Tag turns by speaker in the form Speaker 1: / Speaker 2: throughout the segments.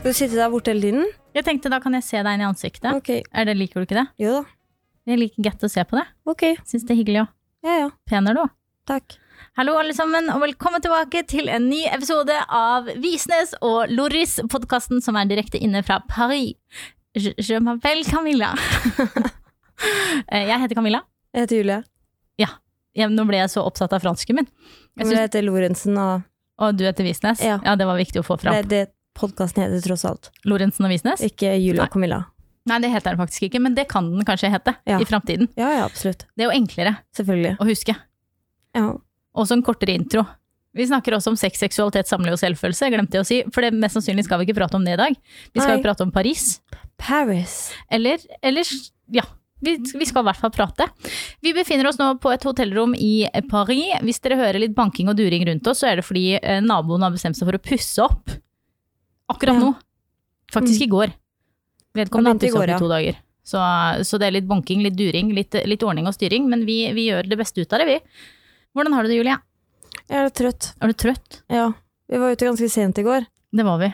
Speaker 1: Skal du sitte der borte hele tiden?
Speaker 2: Jeg tenkte da kan jeg se deg inn i ansiktet.
Speaker 1: Ok.
Speaker 2: Er det, liker du ikke det?
Speaker 1: Jo da.
Speaker 2: Jeg liker godt å se på det.
Speaker 1: Ok.
Speaker 2: Syns det er hyggelig òg.
Speaker 1: Ja ja.
Speaker 2: Pen er du òg.
Speaker 1: Takk.
Speaker 2: Hallo, alle sammen, og velkommen tilbake til en ny episode av Visnes og Loris, podkasten som er direkte inne fra Paris. Je, je m'appelle Camilla. Eh, jeg heter Camilla.
Speaker 1: Jeg heter Julie.
Speaker 2: Ja, nå ble jeg så opptatt av fransken min. Jeg
Speaker 1: Men
Speaker 2: synes,
Speaker 1: jeg heter Lorentzen, og
Speaker 2: og du heter Visnes?
Speaker 1: Ja.
Speaker 2: det var viktig å få
Speaker 1: det
Speaker 2: fram.
Speaker 1: er det podkasten heter tross alt.
Speaker 2: Lorentzen og Visnes?
Speaker 1: Ikke Julie
Speaker 2: Nei.
Speaker 1: og Camilla.
Speaker 2: Nei, det heter den faktisk ikke, men det kan den kanskje hete
Speaker 1: Ja.
Speaker 2: i framtiden.
Speaker 1: Ja ja, absolutt.
Speaker 2: Det er jo enklere
Speaker 1: Selvfølgelig.
Speaker 2: å huske.
Speaker 1: Ja.
Speaker 2: Også en kortere intro. Vi snakker også om sex, seksualitet, samliv og selvfølelse, glemte jeg å si. For det mest sannsynlig skal vi ikke prate om det i dag. Vi skal
Speaker 1: Nei.
Speaker 2: jo prate om Paris.
Speaker 1: Paris.
Speaker 2: Eller, eller ja. Vi, vi skal i hvert fall prate. Vi befinner oss nå på et hotellrom i Paris. Hvis dere hører litt banking og during rundt oss, så er det fordi eh, naboen har bestemt seg for å pusse opp. Akkurat
Speaker 1: Ja.
Speaker 2: nå. Faktisk i går. Vedkommende
Speaker 1: Han
Speaker 2: har
Speaker 1: begynte i
Speaker 2: pusset opp
Speaker 1: går, ja.
Speaker 2: i to dager. Så, så det er litt banking, litt during, litt, litt ordning og styring. Men vi, vi gjør det beste ut av det, vi. Hvordan har du det, Julie?
Speaker 1: Jeg er litt trøtt.
Speaker 2: Er du trøtt?
Speaker 1: Ja. Vi var ute ganske sent i går.
Speaker 2: Det var vi.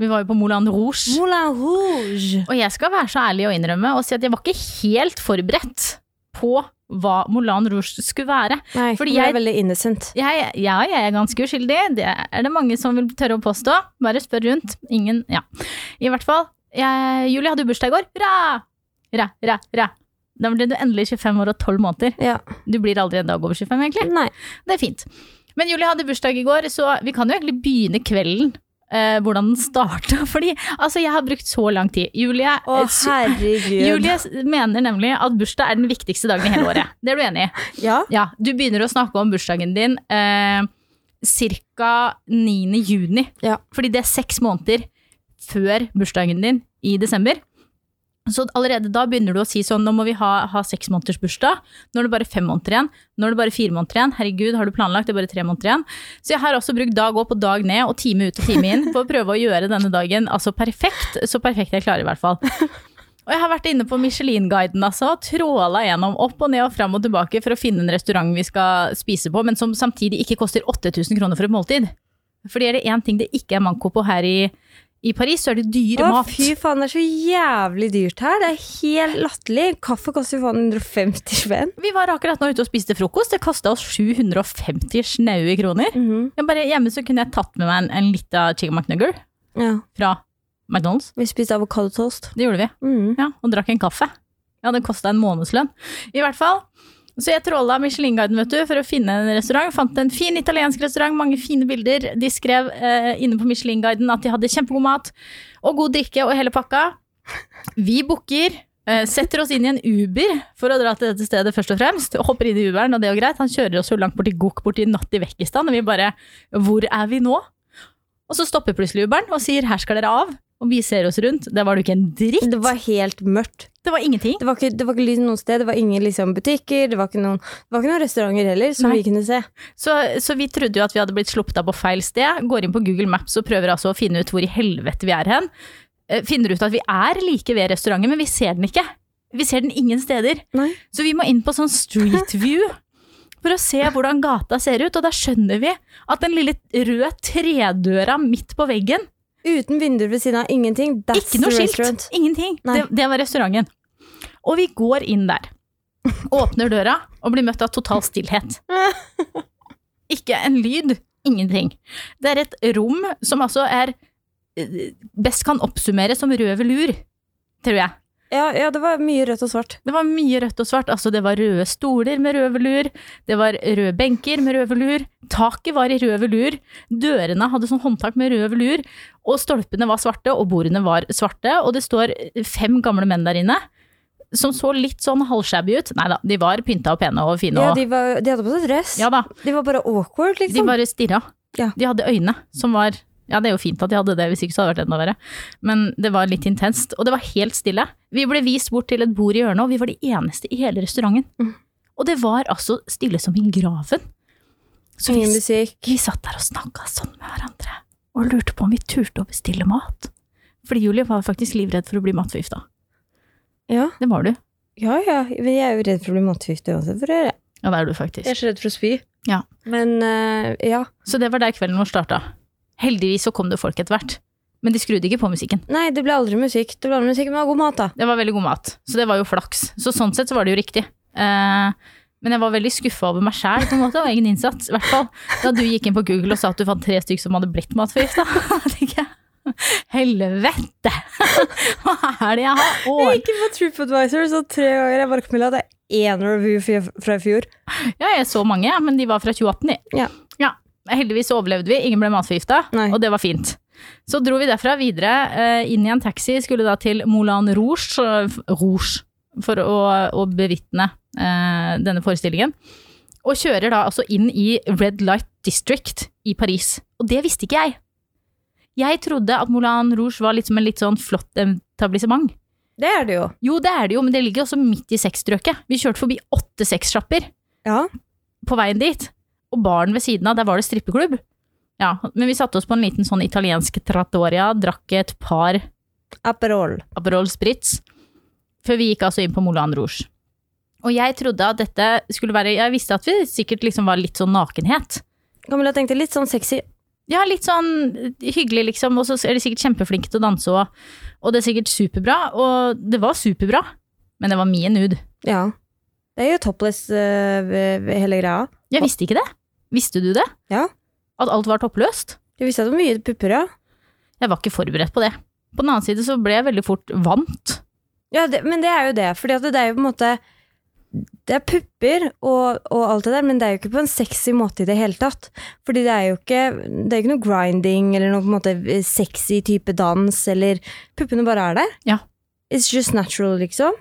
Speaker 2: Vi var jo på Moulin Rouge.
Speaker 1: Moulin Rouge!
Speaker 2: Og jeg skal være så ærlig å innrømme og si at jeg var ikke helt forberedt på hva Moulin Rouge skulle være.
Speaker 1: Nei,
Speaker 2: Fordi
Speaker 1: Fordi jeg
Speaker 2: jeg-
Speaker 1: er veldig innocent.
Speaker 2: Jeg, ja, jeg er ganske uskyldig, det er det mange som vil tørre å påstå. Bare spør rundt. Ingen Ja. I hvert fall. Jeg, Julie hadde jo bursdag i går. Hurra! Hurra, hurra, hurra. Da ble du endelig 25 år og 12 måneder.
Speaker 1: Ja.
Speaker 2: Du blir aldri en dag over 25, egentlig.
Speaker 1: Nei.
Speaker 2: Det er fint. Men Julie hadde bursdag i går, så vi kan jo egentlig begynne kvelden. eh, hvordan den starta. Fordi altså, jeg har brukt så lang tid. Julie,
Speaker 1: Å,
Speaker 2: eh, sy-
Speaker 1: herregud.
Speaker 2: Julie s- mener nemlig at bursdag er den viktigste dagen i hele året. Det er du enig i?
Speaker 1: Ja?
Speaker 2: Ja, du begynner å snakke om bursdagen din eh, ca. 9. juni.
Speaker 1: Ja.
Speaker 2: Fordi det er seks måneder før bursdagen din i desember. Så allerede da begynner du å si sånn, nå må vi ha, ha seks måneders bursdag. Nå er det bare fem måneder igjen. Nå er det bare fire måneder igjen. Herregud, har du planlagt? Det er bare tre måneder igjen. Så jeg har også brukt dag opp og dag ned og time ut og time inn på å prøve å gjøre denne dagen altså perfekt. Så perfekt jeg klarer, i hvert fall. Og jeg har vært inne på Michelin-guiden, altså. Tråla gjennom opp og ned og fram og tilbake for å finne en restaurant vi skal spise på, men som samtidig ikke koster 8000 kroner for et måltid. Fordi er det én ting det ikke er manko på her i, i Paris, så er det dyr
Speaker 1: Å,
Speaker 2: mat.
Speaker 1: fy faen, det er så jævlig dyrt her. Det er helt latterlig. Kaffe koster faen 150 spenn.
Speaker 2: Vi var akkurat nå ute og spiste frokost. Det kosta oss 750 snaue kroner.
Speaker 1: Mhm.
Speaker 2: Jeg bare, hjemme så kunne jeg tatt med meg en, en lita chicken McNugger
Speaker 1: Ja.
Speaker 2: fra McDonald's.
Speaker 1: Vi spiste avokadotoast.
Speaker 2: Det gjorde vi.
Speaker 1: Mm.
Speaker 2: Ja, og drakk en kaffe. Ja, det kosta en månedslønn. I hvert fall. Så jeg tråla Michelin-guiden vet du, for å finne en restaurant. Fant en fin italiensk restaurant, mange fine bilder. De skrev eh, inne på Michelin-guiden at de hadde kjempegod mat og god drikke og hele pakka. Vi booker, eh, setter oss inn i en Uber for å dra til dette stedet først og fremst. og Hopper inn i Uberen, og det er jo greit. Han kjører oss jo langt borti Gok, borti natt i Vekkistan, og vi bare Hvor er vi nå? Og så stopper plutselig Uberen og sier her skal dere av. Og vi ser oss rundt. Der var det jo ikke en dritt.
Speaker 1: Det var helt mørkt.
Speaker 2: Det var ingenting.
Speaker 1: Det var ikke, det var ikke lys noe sted, det var ingen liksom, butikker, det var ikke noen, det var ikke noen restauranter heller som
Speaker 2: Nei.
Speaker 1: vi kunne se.
Speaker 2: Så, så vi trodde jo at vi hadde blitt sluppet av på feil sted. Går inn på Google Maps og prøver altså å finne ut hvor i helvete vi er hen. Eh, Finner ut at vi er like ved restauranten, men vi ser den ikke. Vi ser den ingen steder.
Speaker 1: Nei.
Speaker 2: Så vi må inn på sånn street view for å se hvordan gata ser ut. Og da skjønner vi at den lille røde tredøra midt på veggen
Speaker 1: Uten vinduer ved siden av, ingenting. That's
Speaker 2: ikke noe
Speaker 1: the
Speaker 2: skilt.
Speaker 1: restaurant.
Speaker 2: Ingenting.
Speaker 1: Nei.
Speaker 2: Det, det var restauranten. Og vi går inn der. Åpner døra og blir møtt av total stillhet. Ikke en lyd. Ingenting. Det er et rom som altså er eh, Best kan oppsummeres som rød velur, tror jeg.
Speaker 1: Ja, ja, det var mye rødt og svart.
Speaker 2: Det var mye rødt og svart. Altså, det var røde stoler med rød velur, det var røde benker med rød velur, taket var i rød velur, dørene hadde sånn håndtak med rød velur, og stolpene var svarte, og bordene var svarte, og det står fem gamle menn der inne. Som så litt sånn halvshabby ut. Nei da, de var pynta og pene og fine.
Speaker 1: Ja,
Speaker 2: Og,
Speaker 1: de, var, de hadde på seg dress.
Speaker 2: ja da,
Speaker 1: De var bare awkward,
Speaker 2: de
Speaker 1: liksom.
Speaker 2: bare stirra.
Speaker 1: Ja.
Speaker 2: De hadde øyne som var Ja, det er jo fint at de hadde det, hvis ikke så hadde det vært enda verre. Men det var litt intenst, og det var helt stille. Vi ble vist bort til et bord i hjørnet, og vi var de eneste i hele restauranten.
Speaker 1: Mm.
Speaker 2: Og det var altså stille som i graven. Så vi,
Speaker 1: Ingen musikk.
Speaker 2: vi satt der og snakka sånn med hverandre, og lurte på om vi turte å bestille mat. Fordi Julie var faktisk livredd for å bli matforgifta.
Speaker 1: Ja.
Speaker 2: Det var du.
Speaker 1: ja, ja. Men jeg er jo redd for å bli matforgiftet uansett. For jeg
Speaker 2: Ja, det er du faktisk.
Speaker 1: er så redd for å spy.
Speaker 2: Ja.
Speaker 1: Men eh, ja.
Speaker 2: Så det var der kvelden vår starta. Heldigvis så kom det folk etter hvert. Men de skrudde ikke på musikken.
Speaker 1: Nei, det ble aldri musikk. Det ble aldri musikk, men det var god mat, da.
Speaker 2: Det var veldig god mat, så det var jo flaks. Så sånn sett så var det jo riktig. Eh, men jeg var veldig skuffa over meg sjæl og egen innsats. I hvert fall da du gikk inn på Google og sa at du fant tre stykker som hadde blitt matforgifta. Da tenker jeg, Helvete! Hva er det jeg har
Speaker 1: Jeg
Speaker 2: ordnet?
Speaker 1: gikk inn på TripAdvisor så tre ganger. Jeg bare, Camilla, det er én review fra- fra i fjor.
Speaker 2: Ja, jeg så mange, men de var fra 2018, de.
Speaker 1: Ja.
Speaker 2: Heldigvis så overlevde vi, ingen ble matforgifta,
Speaker 1: Nei.
Speaker 2: og det var fint. Så dro vi derfra videre eh, inn i en taxi, skulle da til Moulin Rouge, eh, f- Rouge for å, å bevitne eh, denne forestillingen. Og kjører da altså inn i Red Light District i Paris. Og det visste ikke jeg. Jeg trodde at Moulin Rouge var litt som en litt sånn flott etablissement.
Speaker 1: Det er det jo.
Speaker 2: Jo, det er det jo, men det ligger også midt i sexstrøket. Vi kjørte forbi åtte sexsjapper
Speaker 1: Ja.
Speaker 2: på veien dit, og baren ved siden av, der var det strippeklubb. Ja, men vi satte oss på en liten sånn italiensk trattoria, drakk et par
Speaker 1: Aperol.
Speaker 2: Aperol Spritz, før vi gikk altså inn på Moulin Rouge. Og jeg trodde at dette skulle være, jeg visste at vi sikkert liksom var litt sånn nakenhet.
Speaker 1: Camilla tenkte litt sånn sexy.
Speaker 2: Ja, litt sånn hyggelig liksom, og så er de sikkert kjempeflinke til å danse, og, og det er sikkert superbra, og det var superbra, men det var mye nude.
Speaker 1: Ja. Det er jo topless eh, ved- ved hele greia.
Speaker 2: Jeg visste ikke det. Visste du det?
Speaker 1: Ja.
Speaker 2: At alt var toppløst?
Speaker 1: Du visste at det var mye pupper, ja.
Speaker 2: Jeg var ikke forberedt på det. På den annen side så ble jeg veldig fort vant.
Speaker 1: ja det, men det er jo det. Fordi at det er jo på en måte Det er pupper og, og alt det der, men det er jo ikke på en sexy måte i det hele tatt. Fordi det er jo ikke, det er ikke noe grinding eller noe på en måte eh, sexy type dans eller Puppene bare er der.
Speaker 2: Ja.
Speaker 1: It's just natural, liksom.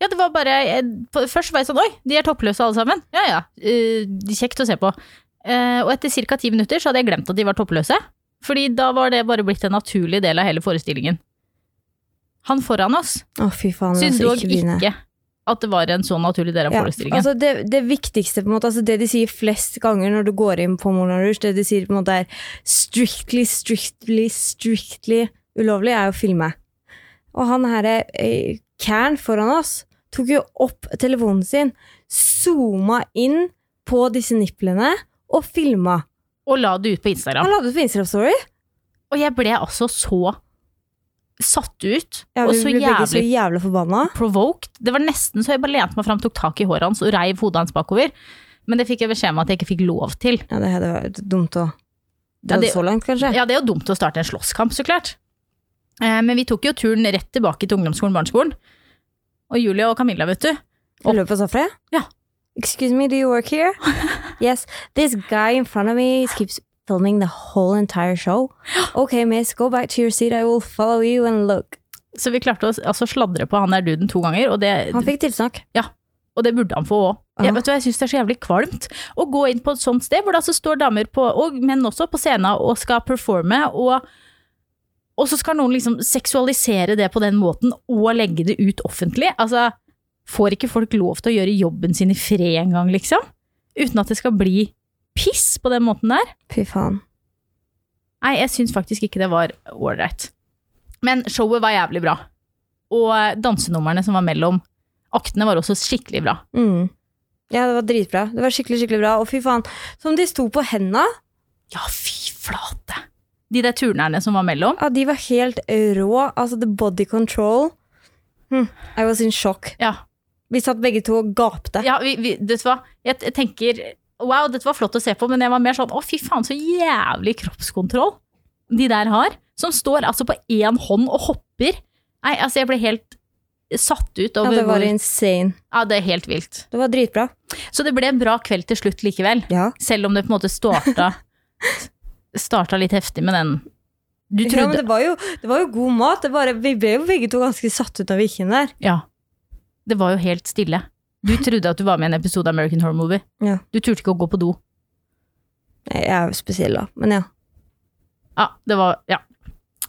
Speaker 2: Ja, det var bare jeg, på- Først var jeg sånn Oi, de er toppløse alle sammen. Ja ja. eh, kjekt å se på. Eh, og etter ca. ti minutter så hadde jeg glemt at de var toppløse. Fordi da var det bare blitt en naturlig del av hele forestillingen. Han foran oss
Speaker 1: Å, fy faen.
Speaker 2: syntes
Speaker 1: altså,
Speaker 2: dog
Speaker 1: begynne.
Speaker 2: ikke at det var en så naturlig del av
Speaker 1: Ja,
Speaker 2: forestillingen.
Speaker 1: altså det, det viktigste, på en måte, altså det de sier flest ganger når du går inn på Moulin Rouge, det de sier på en måte er strictly, strictly, strictly ulovlig, er å filme. Og han her, eh, Kern foran oss, tok jo opp telefonen sin, zooma inn på disse nipplene og filma.
Speaker 2: Og la det ut på Instagram.
Speaker 1: Han la det ut på Instagram-story.
Speaker 2: Og jeg ble altså så satt ut.
Speaker 1: Ja,
Speaker 2: og
Speaker 1: vi
Speaker 2: så
Speaker 1: ble begge så
Speaker 2: jævlig
Speaker 1: jævla forbanna.
Speaker 2: provoked. Det var nesten så jeg bare lente meg fram, tok tak i håret hans og reiv hodet hans bakover. Men det fikk jeg beskjed om at jeg ikke fikk lov til.
Speaker 1: Ja, det hadde vært dumt å
Speaker 2: Ja,
Speaker 1: Det hadde
Speaker 2: det-
Speaker 1: så langt, kanskje.
Speaker 2: Ja, det er jo dumt å starte en slåsskamp, så klart. Eh, Men vi tok jo turen rett tilbake til ungdomsskolen, barneskolen. Og Julie og Camilla, vet du.
Speaker 1: Jeg løper på Safra?
Speaker 2: Ja.
Speaker 1: Excuse me, do you work here? yes, this guy in front of me keeps filming the whole entire show. Okay, miss, go back to your seat, I will follow you and look.
Speaker 2: Så vi klarte å s- altså, sladre på han der duden to ganger, og det,
Speaker 1: Han fikk tilsnakk.
Speaker 2: og det burde han få òg.
Speaker 1: Ja.
Speaker 2: Jeg, vet du, hva, jeg syns det er så jævlig kvalmt å gå inn på et sånt sted hvor det altså står damer på, og menn også, på scenen og skal performe, og, og så skal noen liksom seksualisere det på den måten og legge det ut offentlig. Altså, får ikke folk lov til å gjøre jobben sin i fred engang, liksom? Uten at det skal bli piss på den måten der?
Speaker 1: Fy faen.
Speaker 2: Nei, jeg syns faktisk ikke det var ålreit. Men showet var jævlig bra. Og dansenumrene som var mellom aktene, var også skikkelig bra.
Speaker 1: Mm. Ja, det var dritbra. Det var skikkelig, skikkelig bra. Og fy faen, som de sto på henda,
Speaker 2: Ja, fy flate! De der turnerne som var mellom.
Speaker 1: ja, de var helt rå. Altså, the body control. Hm, I was in shock.
Speaker 2: Ja,
Speaker 1: Vi satt begge to og gapte.
Speaker 2: ja vi, vi, vet du hva? Jeg t- tenker Wow, dette var flott å se på, men jeg var mer sånn Å, fy faen, så jævlig kroppskontroll de der har. Som står altså på én hånd og hopper. Nei, altså, jeg ble helt satt ut
Speaker 1: Ja,
Speaker 2: over
Speaker 1: det var
Speaker 2: hvor
Speaker 1: insane.
Speaker 2: Ja, det er helt vilt.
Speaker 1: Det var dritbra.
Speaker 2: Så det ble en bra kveld til slutt likevel.
Speaker 1: Ja.
Speaker 2: Selv om det på en måte starta Starta litt heftig med den Du
Speaker 1: Ja, men
Speaker 2: trodde
Speaker 1: det var jo, det var jo god mat. Det bare, vi ble jo begge to ganske satt ut når vi gikk inn der.
Speaker 2: Ja. Det var jo helt stille. Du trodde at du var med i en episode av American Horror Movie.
Speaker 1: Ja.
Speaker 2: Du turte ikke å gå på do.
Speaker 1: Nei, Jeg er jo spesiell, da. Men ja.
Speaker 2: Ja, det var, ja.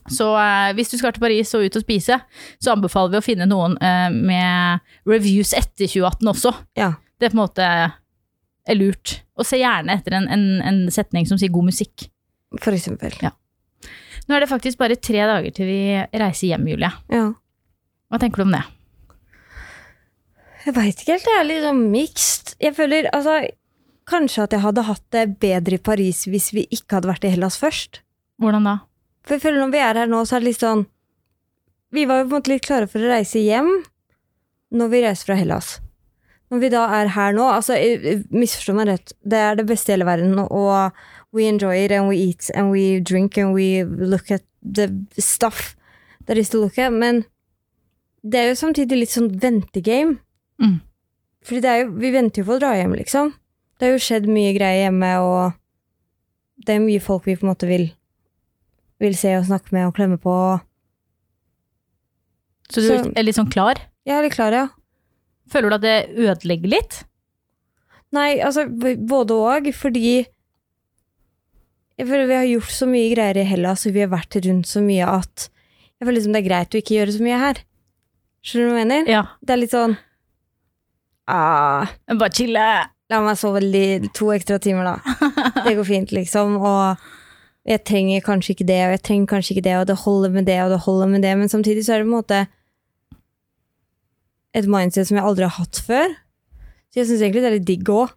Speaker 2: Så eh, hvis du skal til Paris og ut og spise, så anbefaler vi å finne noen eh, med reviews etter 2018 også.
Speaker 1: Ja.
Speaker 2: Det er på en måte er lurt. Og se gjerne etter en, en, en setning som sier god musikk.
Speaker 1: For eksempel.
Speaker 2: Nå er det faktisk bare tre dager til vi reiser hjem, Julie.
Speaker 1: Ja.
Speaker 2: Hva tenker du om det?
Speaker 1: Jeg veit ikke helt. Det er litt sånn mixed. Jeg føler altså Kanskje at jeg hadde hatt det bedre i Paris hvis vi ikke hadde vært i Hellas først.
Speaker 2: Hvordan da?
Speaker 1: For jeg føler når vi er her nå, så er det litt sånn Vi var jo på en måte litt klare for å reise hjem når vi reiser fra Hellas. Når vi da er her nå Altså, jeg- jeg misforstå meg rett, det er det beste i hele verden, og we enjoy it, and we eat, and we drink, and we look at the stuff there is to look at, men det er jo samtidig litt sånn ventegame.
Speaker 2: Mm.
Speaker 1: Fordi det er jo, vi venter jo på å dra hjem, liksom. Det har jo skjedd mye greier hjemme, og det er mye folk vi på en måte vil vil se og snakke med og klemme på.
Speaker 2: Så du
Speaker 1: Så-
Speaker 2: er litt sånn klar?
Speaker 1: Jeg er litt klar, ja.
Speaker 2: Føler du at det ødelegger litt?
Speaker 1: Nei, altså b- både og, fordi jeg føler vi har gjort så mye greier i Hellas, og vi har vært rundt så mye at jeg føler liksom det er greit å ikke gjøre så mye her. Skjønner du hva jeg mener?
Speaker 2: Ja.
Speaker 1: Det er litt sånn ah,
Speaker 2: Bare chille!
Speaker 1: La meg sove li- to ekstra timer, da. Det går fint, liksom. Og jeg trenger kanskje ikke det, og jeg trenger kanskje ikke det, og det holder med det, og det holder med det. Men samtidig så er det på en måte et mindset som jeg aldri har hatt før. Så jeg syns egentlig det er litt digg òg.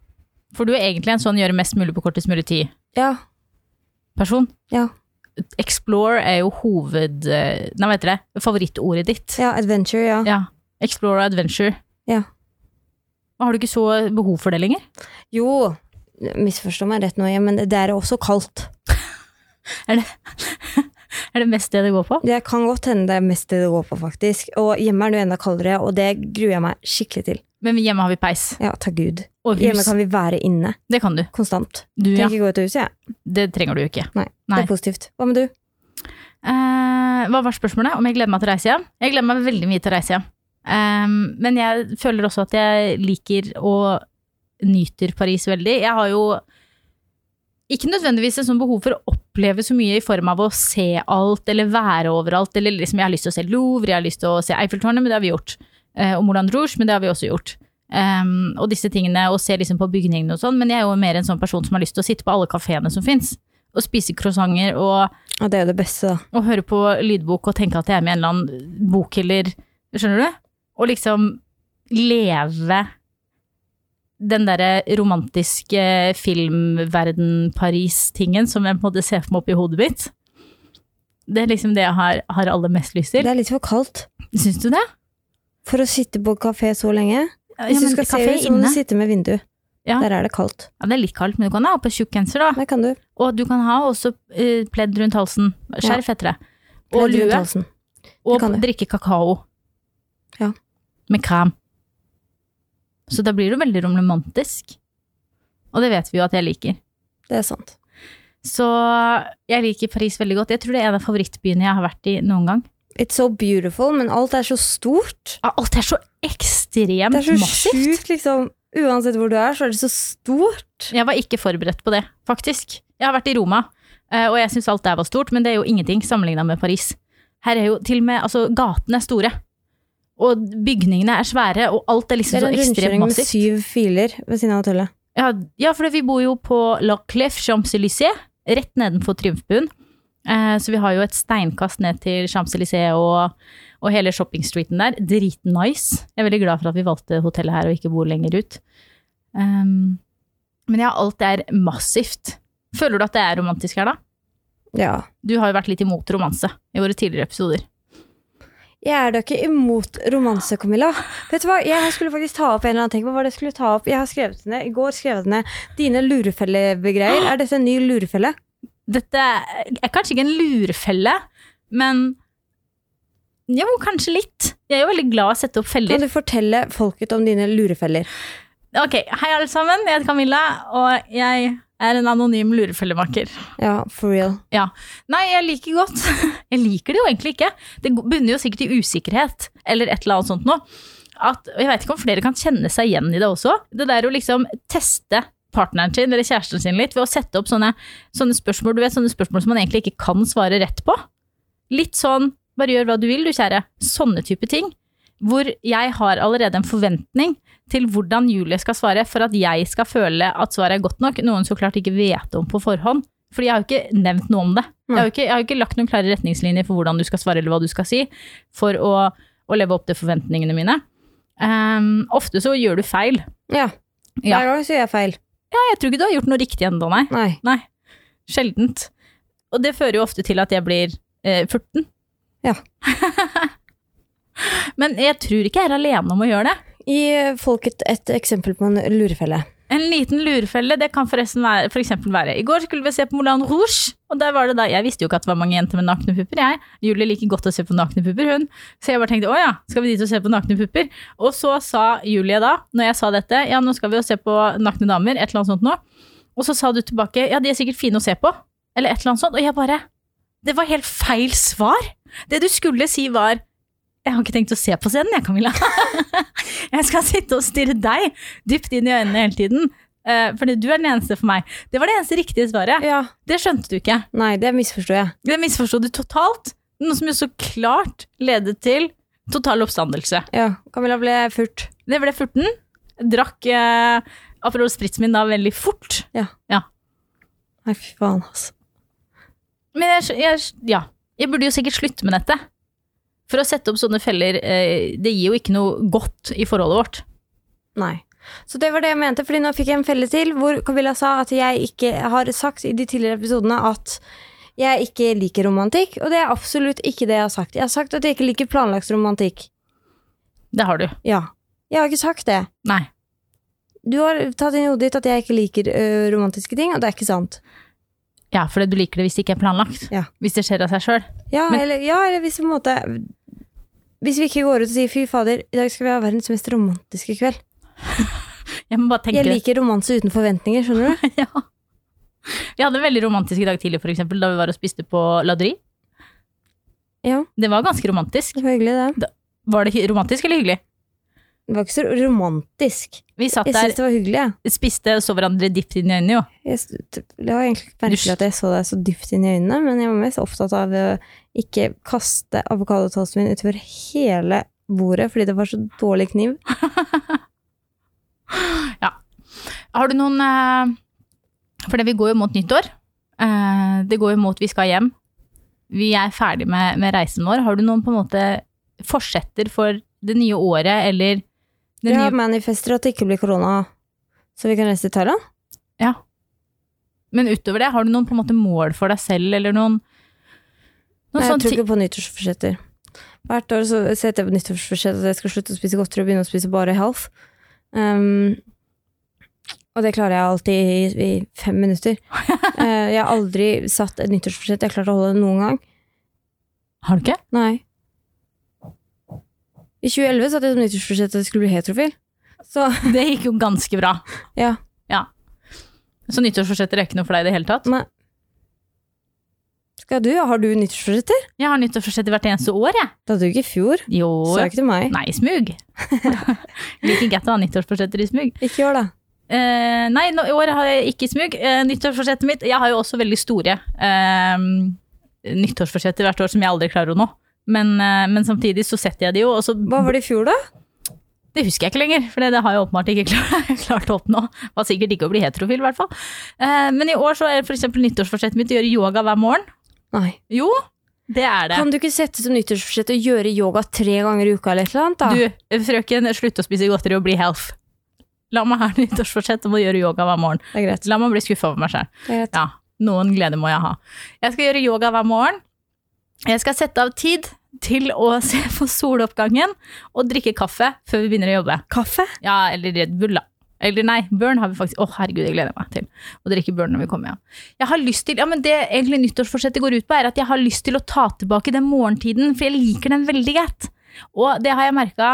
Speaker 2: For du er egentlig en sånn gjøre mest mulig på kortest mulig tid-person.
Speaker 1: Ja. Ja.
Speaker 2: Explore er jo hoved... eh, Nei, hva heter det? Favorittordet ditt.
Speaker 1: ja. Adventure, ja.
Speaker 2: Ja. Explore og adventure.
Speaker 1: Ja.
Speaker 2: Men Har du ikke så behov for det lenger?
Speaker 1: Jo, misforstå meg rett nå, ja, men det er også kaldt.
Speaker 2: Er det mest det det går på?
Speaker 1: Det kan godt hende det er mest det det går på, faktisk. Og hjemme er det jo enda kaldere, og det gruer jeg meg skikkelig til.
Speaker 2: Men hjemme har vi peis.
Speaker 1: Ja, takk Gud.
Speaker 2: Og
Speaker 1: Hjemme
Speaker 2: hus.
Speaker 1: kan vi være inne
Speaker 2: Det kan du.
Speaker 1: konstant.
Speaker 2: du ja.
Speaker 1: Trenger ikke gå ut av huset, jeg.
Speaker 2: Det trenger du jo ikke.
Speaker 1: Nei,
Speaker 2: Nei.
Speaker 1: Det er positivt. Hva med du?
Speaker 2: Eh, hva var spørsmålet? Om jeg gleder meg til å reise hjem? Jeg gleder meg veldig mye til å reise hjem. Ehm, men jeg føler også at jeg liker og nyter Paris veldig. Jeg har jo ikke nødvendigvis et sånt behov for å oppleve så mye i form av å se alt eller være overalt. Eller liksom, jeg har lyst til å se Louvre, jeg har lyst til å se Eiffeltårnet, men det har vi gjort. Eh, og Moulin Rouge, men det har vi også gjort. Ehm, og disse tingene, og se liksom på bygningene og sånn. Men jeg er jo mer en sånn person som har lyst til å sitte på alle kafeene som fins. Og spise croissanter og
Speaker 1: Ja, det er jo det beste, da.
Speaker 2: og høre på lydbok og tenke at jeg er med i en eller annen bokhyller, skjønner du? Og liksom leve den derre romantiske filmverden-Paris-tingen som jeg på en måte ser for meg oppi hodet mitt. Det er liksom det jeg har, har aller mest lyst
Speaker 1: Det
Speaker 2: til.
Speaker 1: er litt for kaldt
Speaker 2: Syns du det?
Speaker 1: for å sitte på kafé så lenge. Hvis
Speaker 2: Ja,
Speaker 1: du
Speaker 2: men
Speaker 1: skal se
Speaker 2: kafé
Speaker 1: ut, så må du
Speaker 2: inne.
Speaker 1: sitte med vindu.
Speaker 2: Ja. Ah.
Speaker 1: Der er det kaldt.
Speaker 2: Ja, det er litt kaldt, men du kan ha på tjukk genser, da.
Speaker 1: Der kan du.
Speaker 2: Og du kan ha også eh, pledd rundt halsen. Skjerf heter det. Og
Speaker 1: Pledd rundt
Speaker 2: lue.
Speaker 1: halsen.
Speaker 2: Og
Speaker 1: kan du.
Speaker 2: drikke kakao.
Speaker 1: Ja.
Speaker 2: Med krem. Så da blir du veldig romantisk. Og det vet vi jo at jeg liker.
Speaker 1: Det er sant.
Speaker 2: Så jeg liker Paris veldig godt. Jeg tror det er en av favorittbyene jeg har vært i noen gang.
Speaker 1: It's so beautiful, men alt er så stort.
Speaker 2: Ah, Alt er så ekstremt
Speaker 1: Det er så
Speaker 2: massivt.
Speaker 1: sjukt, liksom. Uansett hvor du er, så er det så stort.
Speaker 2: Jeg var ikke forberedt på det, faktisk. Jeg har vært i Roma, eh, og jeg syns alt der var stort, men det er jo ingenting sammenligna med Paris. Her er jo til og med Altså, gatene er store. Og bygningene er svære, og alt er
Speaker 1: Det
Speaker 2: liksom
Speaker 1: er
Speaker 2: så
Speaker 1: en
Speaker 2: ekstremt
Speaker 1: rundkjøring med
Speaker 2: massivt.
Speaker 1: syv filer ved siden av hotellet.
Speaker 2: Ja, ja for vi bor jo på La Clef Champs-Élysées, rett nedenfor Triumfbuen. Eh, så vi har jo et steinkast ned til Champs-Élysées og, og hele shoppingstreeten der. Dritnice. Jeg er veldig glad for at vi valgte hotellet her og ikke bor lenger ut. Ehm, men ja, alt er massivt. Føler du at det er romantisk her, da?
Speaker 1: Ja.
Speaker 2: Du har jo vært litt imot romanse i våre tidligere episoder.
Speaker 1: Jeg er da ikke imot romanse, Camilla. Vet du hva, Jeg skulle faktisk ta opp en eller annen ting. Hva var det jeg skulle ta opp? Jeg har skrevet det ned. I går skrev jeg det ned. Dine lurefellebegreier. Er dette en ny lurefelle?
Speaker 2: Dette er kanskje ikke en lurefelle, men jo, kanskje litt. Jeg er jo veldig glad i å sette opp feller.
Speaker 1: Kan du fortelle folket om dine lurefeller?
Speaker 2: Ok, hei alle sammen, jeg heter Camilla, og jeg er en anonym lurefellemaker.
Speaker 1: Ja, for real.
Speaker 2: Nei, jeg liker godt. Jeg liker det jo egentlig ikke. Det bunner jo sikkert i usikkerhet, eller et eller annet sånt nå. At, og jeg vet ikke om flere kan kjenne seg igjen i det også. Det der å liksom teste partneren sin eller kjæresten sin litt ved å sette opp sånne, sånne spørsmål du vet, sånne spørsmål som man egentlig ikke kan svare rett på. Litt sånn 'bare gjør hva du vil, du kjære'. Sånne type ting. Hvor jeg har allerede en forventning til hvordan Julie skal svare for at jeg skal føle at svaret er godt nok, noe hun så klart ikke vet om på forhånd. Fordi jeg har jo ikke nevnt noe om det. Jeg har jo ikke, jeg har jo ikke lagt noen klare retningslinjer for hvordan du skal svare eller hva du skal si, for å, å leve opp til forventningene mine. Ehm, ofte så gjør du feil.
Speaker 1: Ja.
Speaker 2: Ja.
Speaker 1: Hver gang sier jeg feil.
Speaker 2: Jeg tror ikke du har gjort noe riktig ennå, nei.
Speaker 1: Nei.
Speaker 2: Nei, sjeldent. Og det fører jo ofte til at jeg blir eh, 14.
Speaker 1: Ja.
Speaker 2: Men jeg tror ikke jeg er alene om å gjøre det.
Speaker 1: Gi folk et, et eksempel på en lurefelle.
Speaker 2: En liten lurefelle, det kan forresten være, for eksempel være I går skulle vi se på Moulin Rouge, og der var det da Jeg visste jo ikke at det var mange jenter med nakne pupper, jeg. Julie liker godt å se på nakne pupper, hun. Så jeg bare tenkte å ja, skal vi dit og se på nakne pupper? Og så sa Julie da, når jeg sa dette, ja, nå skal vi jo se på nakne damer, et eller annet sånt nå. Og så sa du tilbake, ja, de er sikkert fine å se på, eller et eller annet sånt. Og jeg bare Det var helt feil svar! Det du skulle si, var jeg har ikke tenkt å se på scenen, jeg, Camilla. jeg skal sitte og stirre deg dypt inn i øynene hele tiden. Eh, fordi du er den eneste for meg. Det var det eneste riktige svaret.
Speaker 1: Ja.
Speaker 2: Det skjønte du ikke.
Speaker 1: Nei, det misforstår jeg.
Speaker 2: Det misforsto du totalt. Noe som jo så klart ledet til total oppstandelse.
Speaker 1: Ja. Camilla ble furt.
Speaker 2: Det ble 14. Drakk eh, Aperol Spritz min da veldig fort.
Speaker 1: Nei, fy faen, altså.
Speaker 2: Men jeg, skj- jeg, skj- ja. jeg burde jo sikkert slutte med dette. For å sette opp sånne feller, eh, det gir jo ikke noe godt i forholdet vårt.
Speaker 1: Nei. Så det var det jeg mente, fordi nå fikk jeg en felle til hvor Camilla sa at jeg ikke har sagt i de tidligere episodene at jeg ikke liker romantikk, og det er absolutt ikke det jeg har sagt. Jeg har sagt at jeg ikke liker planlagt romantikk.
Speaker 2: Det har du.
Speaker 1: Ja. Jeg har ikke sagt det.
Speaker 2: Nei.
Speaker 1: Du har tatt inn i hodet ditt at jeg ikke liker ø, romantiske ting, og det er ikke sant.
Speaker 2: Ja, fordi du liker det hvis det ikke er planlagt.
Speaker 1: Ja.
Speaker 2: Hvis det skjer av seg sjøl.
Speaker 1: Ja,
Speaker 2: Men-
Speaker 1: eller, ja, eller hvis, på en måte, hvis vi ikke går ut og sier 'fy fader, i dag skal vi ha verdens mest romantiske kveld'.
Speaker 2: Jeg må bare tenke
Speaker 1: Jeg liker romanse uten forventninger, skjønner du?
Speaker 2: Ja. Vi hadde en veldig romantisk dag tidlig, for eksempel, da vi var og spiste på Ladri.
Speaker 1: Ja,
Speaker 2: Det var ganske romantisk.
Speaker 1: det var hyggelig, det.
Speaker 2: Var det hy- romantisk eller hyggelig?
Speaker 1: Det var ikke så romantisk.
Speaker 2: Vi satt
Speaker 1: Jeg syns
Speaker 2: der,
Speaker 1: det var hyggelig, jeg.
Speaker 2: spiste og så hverandre dypt inn i øynene, jo.
Speaker 1: Jeg s- t- Det var egentlig ikke
Speaker 2: Du s-
Speaker 1: merkelig at jeg så deg så dypt inn i øynene, men jeg var mest opptatt av å ikke kaste avokadotoasten min utover hele bordet fordi det var så dårlig kniv.
Speaker 2: Har du noen eh, For det, vi går jo mot nyttår. Eh, Det går jo mot vi skal hjem. Vi er ferdig med, med reisen vår. Har du noen på en måte forsetter for det nye året eller det
Speaker 1: Jeg har
Speaker 2: nye
Speaker 1: manifester at det ikke blir korona, så vi kan reise til Thailand.
Speaker 2: Ja. Men utover det, har du noen på en måte mål for deg selv eller noen noen
Speaker 1: Nei, jeg
Speaker 2: sånne
Speaker 1: tror
Speaker 2: ting-
Speaker 1: ikke på nyttårsforsetter. Hvert år så setter jeg på nyttårsforsett at jeg skal slutte å spise godteri og begynne å spise bare health. Um, og det klarer jeg alltid i, i fem minutter. Eh, jeg har aldri satt et nyttårsforsett. Jeg har klart å holde det noen gang.
Speaker 2: Har du ikke?
Speaker 1: Nei. I 2011 satt jeg som nyttårsforsett at jeg skulle bli heterofil. Så
Speaker 2: Det gikk jo ganske bra.
Speaker 1: Ja.
Speaker 2: Så nyttårsforsetter er ikke noe for deg i det hele tatt?
Speaker 1: Nei. skal du, har du nyttårsforsetter?
Speaker 2: Jeg har nyttårsforsetter hvert eneste år, jeg.
Speaker 1: Det hadde du ikke i fjor.
Speaker 2: Jo.
Speaker 1: Sa ikke til meg.
Speaker 2: Nei, smug. Liker ikke at du har nyttårsforsetter i smug.
Speaker 1: Ikke gjør det.
Speaker 2: Eh, nei, nå- i år har jeg ikke smug. Eh, nyttårsforsettet mitt Jeg har jo også veldig store eh, nyttårsforsetter hvert år som jeg aldri klarer å nå. Men, eh, men samtidig så setter jeg de jo, og så
Speaker 1: Hva var det i fjor, da?
Speaker 2: Det husker jeg ikke lenger, for det, det har jeg åpenbart ikke klart, klart å oppnå. Var sikkert ikke å bli heterofil, i hvert fall. Eh, men i år så er f.eks. nyttårsforsettet mitt å gjøre yoga hver morgen.
Speaker 1: Nei.
Speaker 2: Jo, det er det.
Speaker 1: Kan du ikke sette som nyttårsforsett å gjøre yoga tre ganger i uka eller et eller annet? da?
Speaker 2: Du, frøken, slutt å spise godteri og bli health. La meg ha nyttårsforsett om å gjøre yoga hver morgen.
Speaker 1: Det er greit.
Speaker 2: La meg bli skuffa over meg sjøl.
Speaker 1: Det er greit.
Speaker 2: Ja, noen glede må jeg ha. Jeg skal gjøre yoga hver morgen. Jeg skal sette av tid til å se på soloppgangen og drikke kaffe før vi begynner å jobbe.
Speaker 1: Kaffe?
Speaker 2: Ja, eller Red Bull, da. Eller nei, Burn har vi faktisk. Å, herregud, jeg gleder meg til å drikke Burn når vi kommer hjem. Jeg har lyst til, ja, men Det egentlig nyttårsforsettet går ut på, er at jeg har lyst til å ta tilbake den morgentiden, for jeg liker den veldig godt. Og det har jeg merka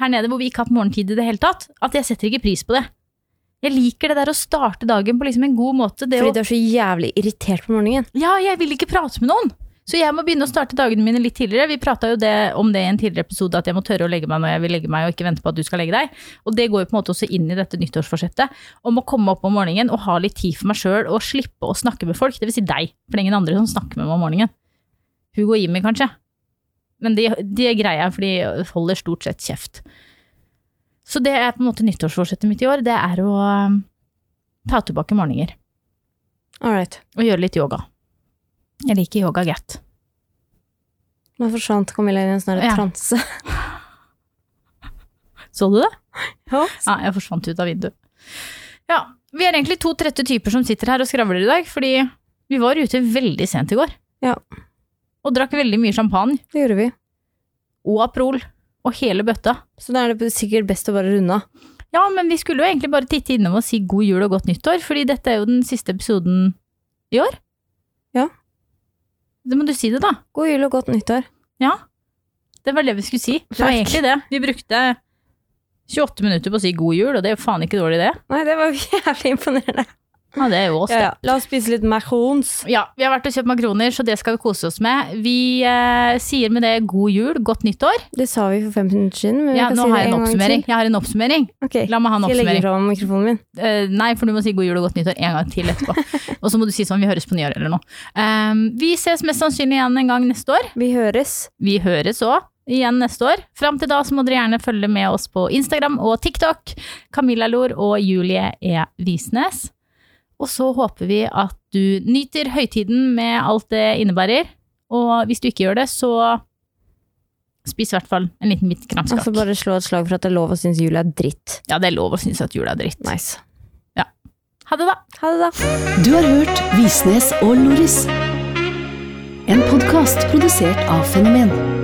Speaker 2: her nede hvor vi ikke har hatt morgentid i det hele tatt, at jeg setter ikke pris på det. Jeg liker det der å starte dagen på liksom en god måte. Det å,
Speaker 1: Fordi du er så jævlig irritert på morgenen.
Speaker 2: Ja, jeg vil ikke prate med noen. Så jeg må begynne å starte dagene mine litt tidligere. Vi prata jo det, om det i en tidligere episode, at jeg må tørre å legge meg når jeg vil legge meg, og ikke vente på at du skal legge deg. Og det går jo på en måte også inn i dette nyttårsforsettet, om å komme opp om morgenen og ha litt tid for meg sjøl, og slippe å snakke med folk. Det vil si deg, for det er ingen andre som snakker med meg om morgenen. Hugo og Jimmy, kanskje. Men det de greier jeg, for de holder stort sett kjeft. Så det er på en måte nyttårsforsettet mitt i år. Det er å um, ta tilbake morgener
Speaker 1: All right.
Speaker 2: og gjøre litt yoga. Jeg liker yoga godt.
Speaker 1: Nå forsvant Camilla inn i en sånn her
Speaker 2: Ja.
Speaker 1: transe.
Speaker 2: Så du det?
Speaker 1: Ja.
Speaker 2: Ja, jeg forsvant ut av vinduet. Ja, vi er egentlig to trette typer som sitter her og skravler i dag, fordi vi var ute veldig sent i går.
Speaker 1: Ja.
Speaker 2: Og drakk veldig mye champagne
Speaker 1: Det gjorde vi.
Speaker 2: og Aprol og hele bøtta.
Speaker 1: Så da er det sikkert best å bare runde av.
Speaker 2: Ja, men vi skulle jo egentlig bare titte innom og si god jul og godt nyttår, fordi dette er jo den siste episoden i år.
Speaker 1: Ja.
Speaker 2: Da må du si det, da.
Speaker 1: God jul og godt nyttår.
Speaker 2: Ja. Det var det vi skulle si. Det var
Speaker 1: Takk.
Speaker 2: egentlig det. Vi brukte 28 minutter på å si god jul, og det er jo faen ikke dårlig, det.
Speaker 1: Nei, det var jævlig imponerende.
Speaker 2: Ja, det er jo oss,
Speaker 1: Ja,
Speaker 2: det.
Speaker 1: ja. La oss spise litt macarons.
Speaker 2: Ja, vi har vært og kjøpt makroner, så det skal vi kose oss med. Vi eh, sier med det god jul, godt nyttår.
Speaker 1: Det sa vi for fem minutter siden, men vi
Speaker 2: Ja,
Speaker 1: kan
Speaker 2: nå
Speaker 1: si
Speaker 2: har
Speaker 1: det
Speaker 2: jeg en
Speaker 1: en gang
Speaker 2: oppsummering.
Speaker 1: til.
Speaker 2: Jeg har en oppsummering.
Speaker 1: Ok,
Speaker 2: La meg ha en
Speaker 1: Skal jeg legge
Speaker 2: oppsummering.
Speaker 1: fra meg mikrofonen min?
Speaker 2: Eh, nei, for du må si god jul og godt nyttår en gang til etterpå. og så må du si sånn, vi høres på nyåret eller noe. Eh, vi ses mest sannsynlig igjen en gang neste år.
Speaker 1: Vi høres.
Speaker 2: Vi høres òg igjen neste år. Fram til da så må dere gjerne følge med oss på Instagram og TikTok. Camilla Lor og Julie E. Visnes. Og så håper vi at du nyter høytiden med alt det innebærer. Og hvis du ikke gjør det, så spis i hvert fall en liten bit
Speaker 1: Og
Speaker 2: kransekake.
Speaker 1: så Altså bare slå et slag for at det er lov å synes jul er dritt.
Speaker 2: Ja, det er lov å synes at jula er dritt.
Speaker 1: Nice.
Speaker 2: Ha det, da.
Speaker 1: Ha det, da.
Speaker 3: Du har hørt Visnes og Loris. En podkast produsert av Fenomen.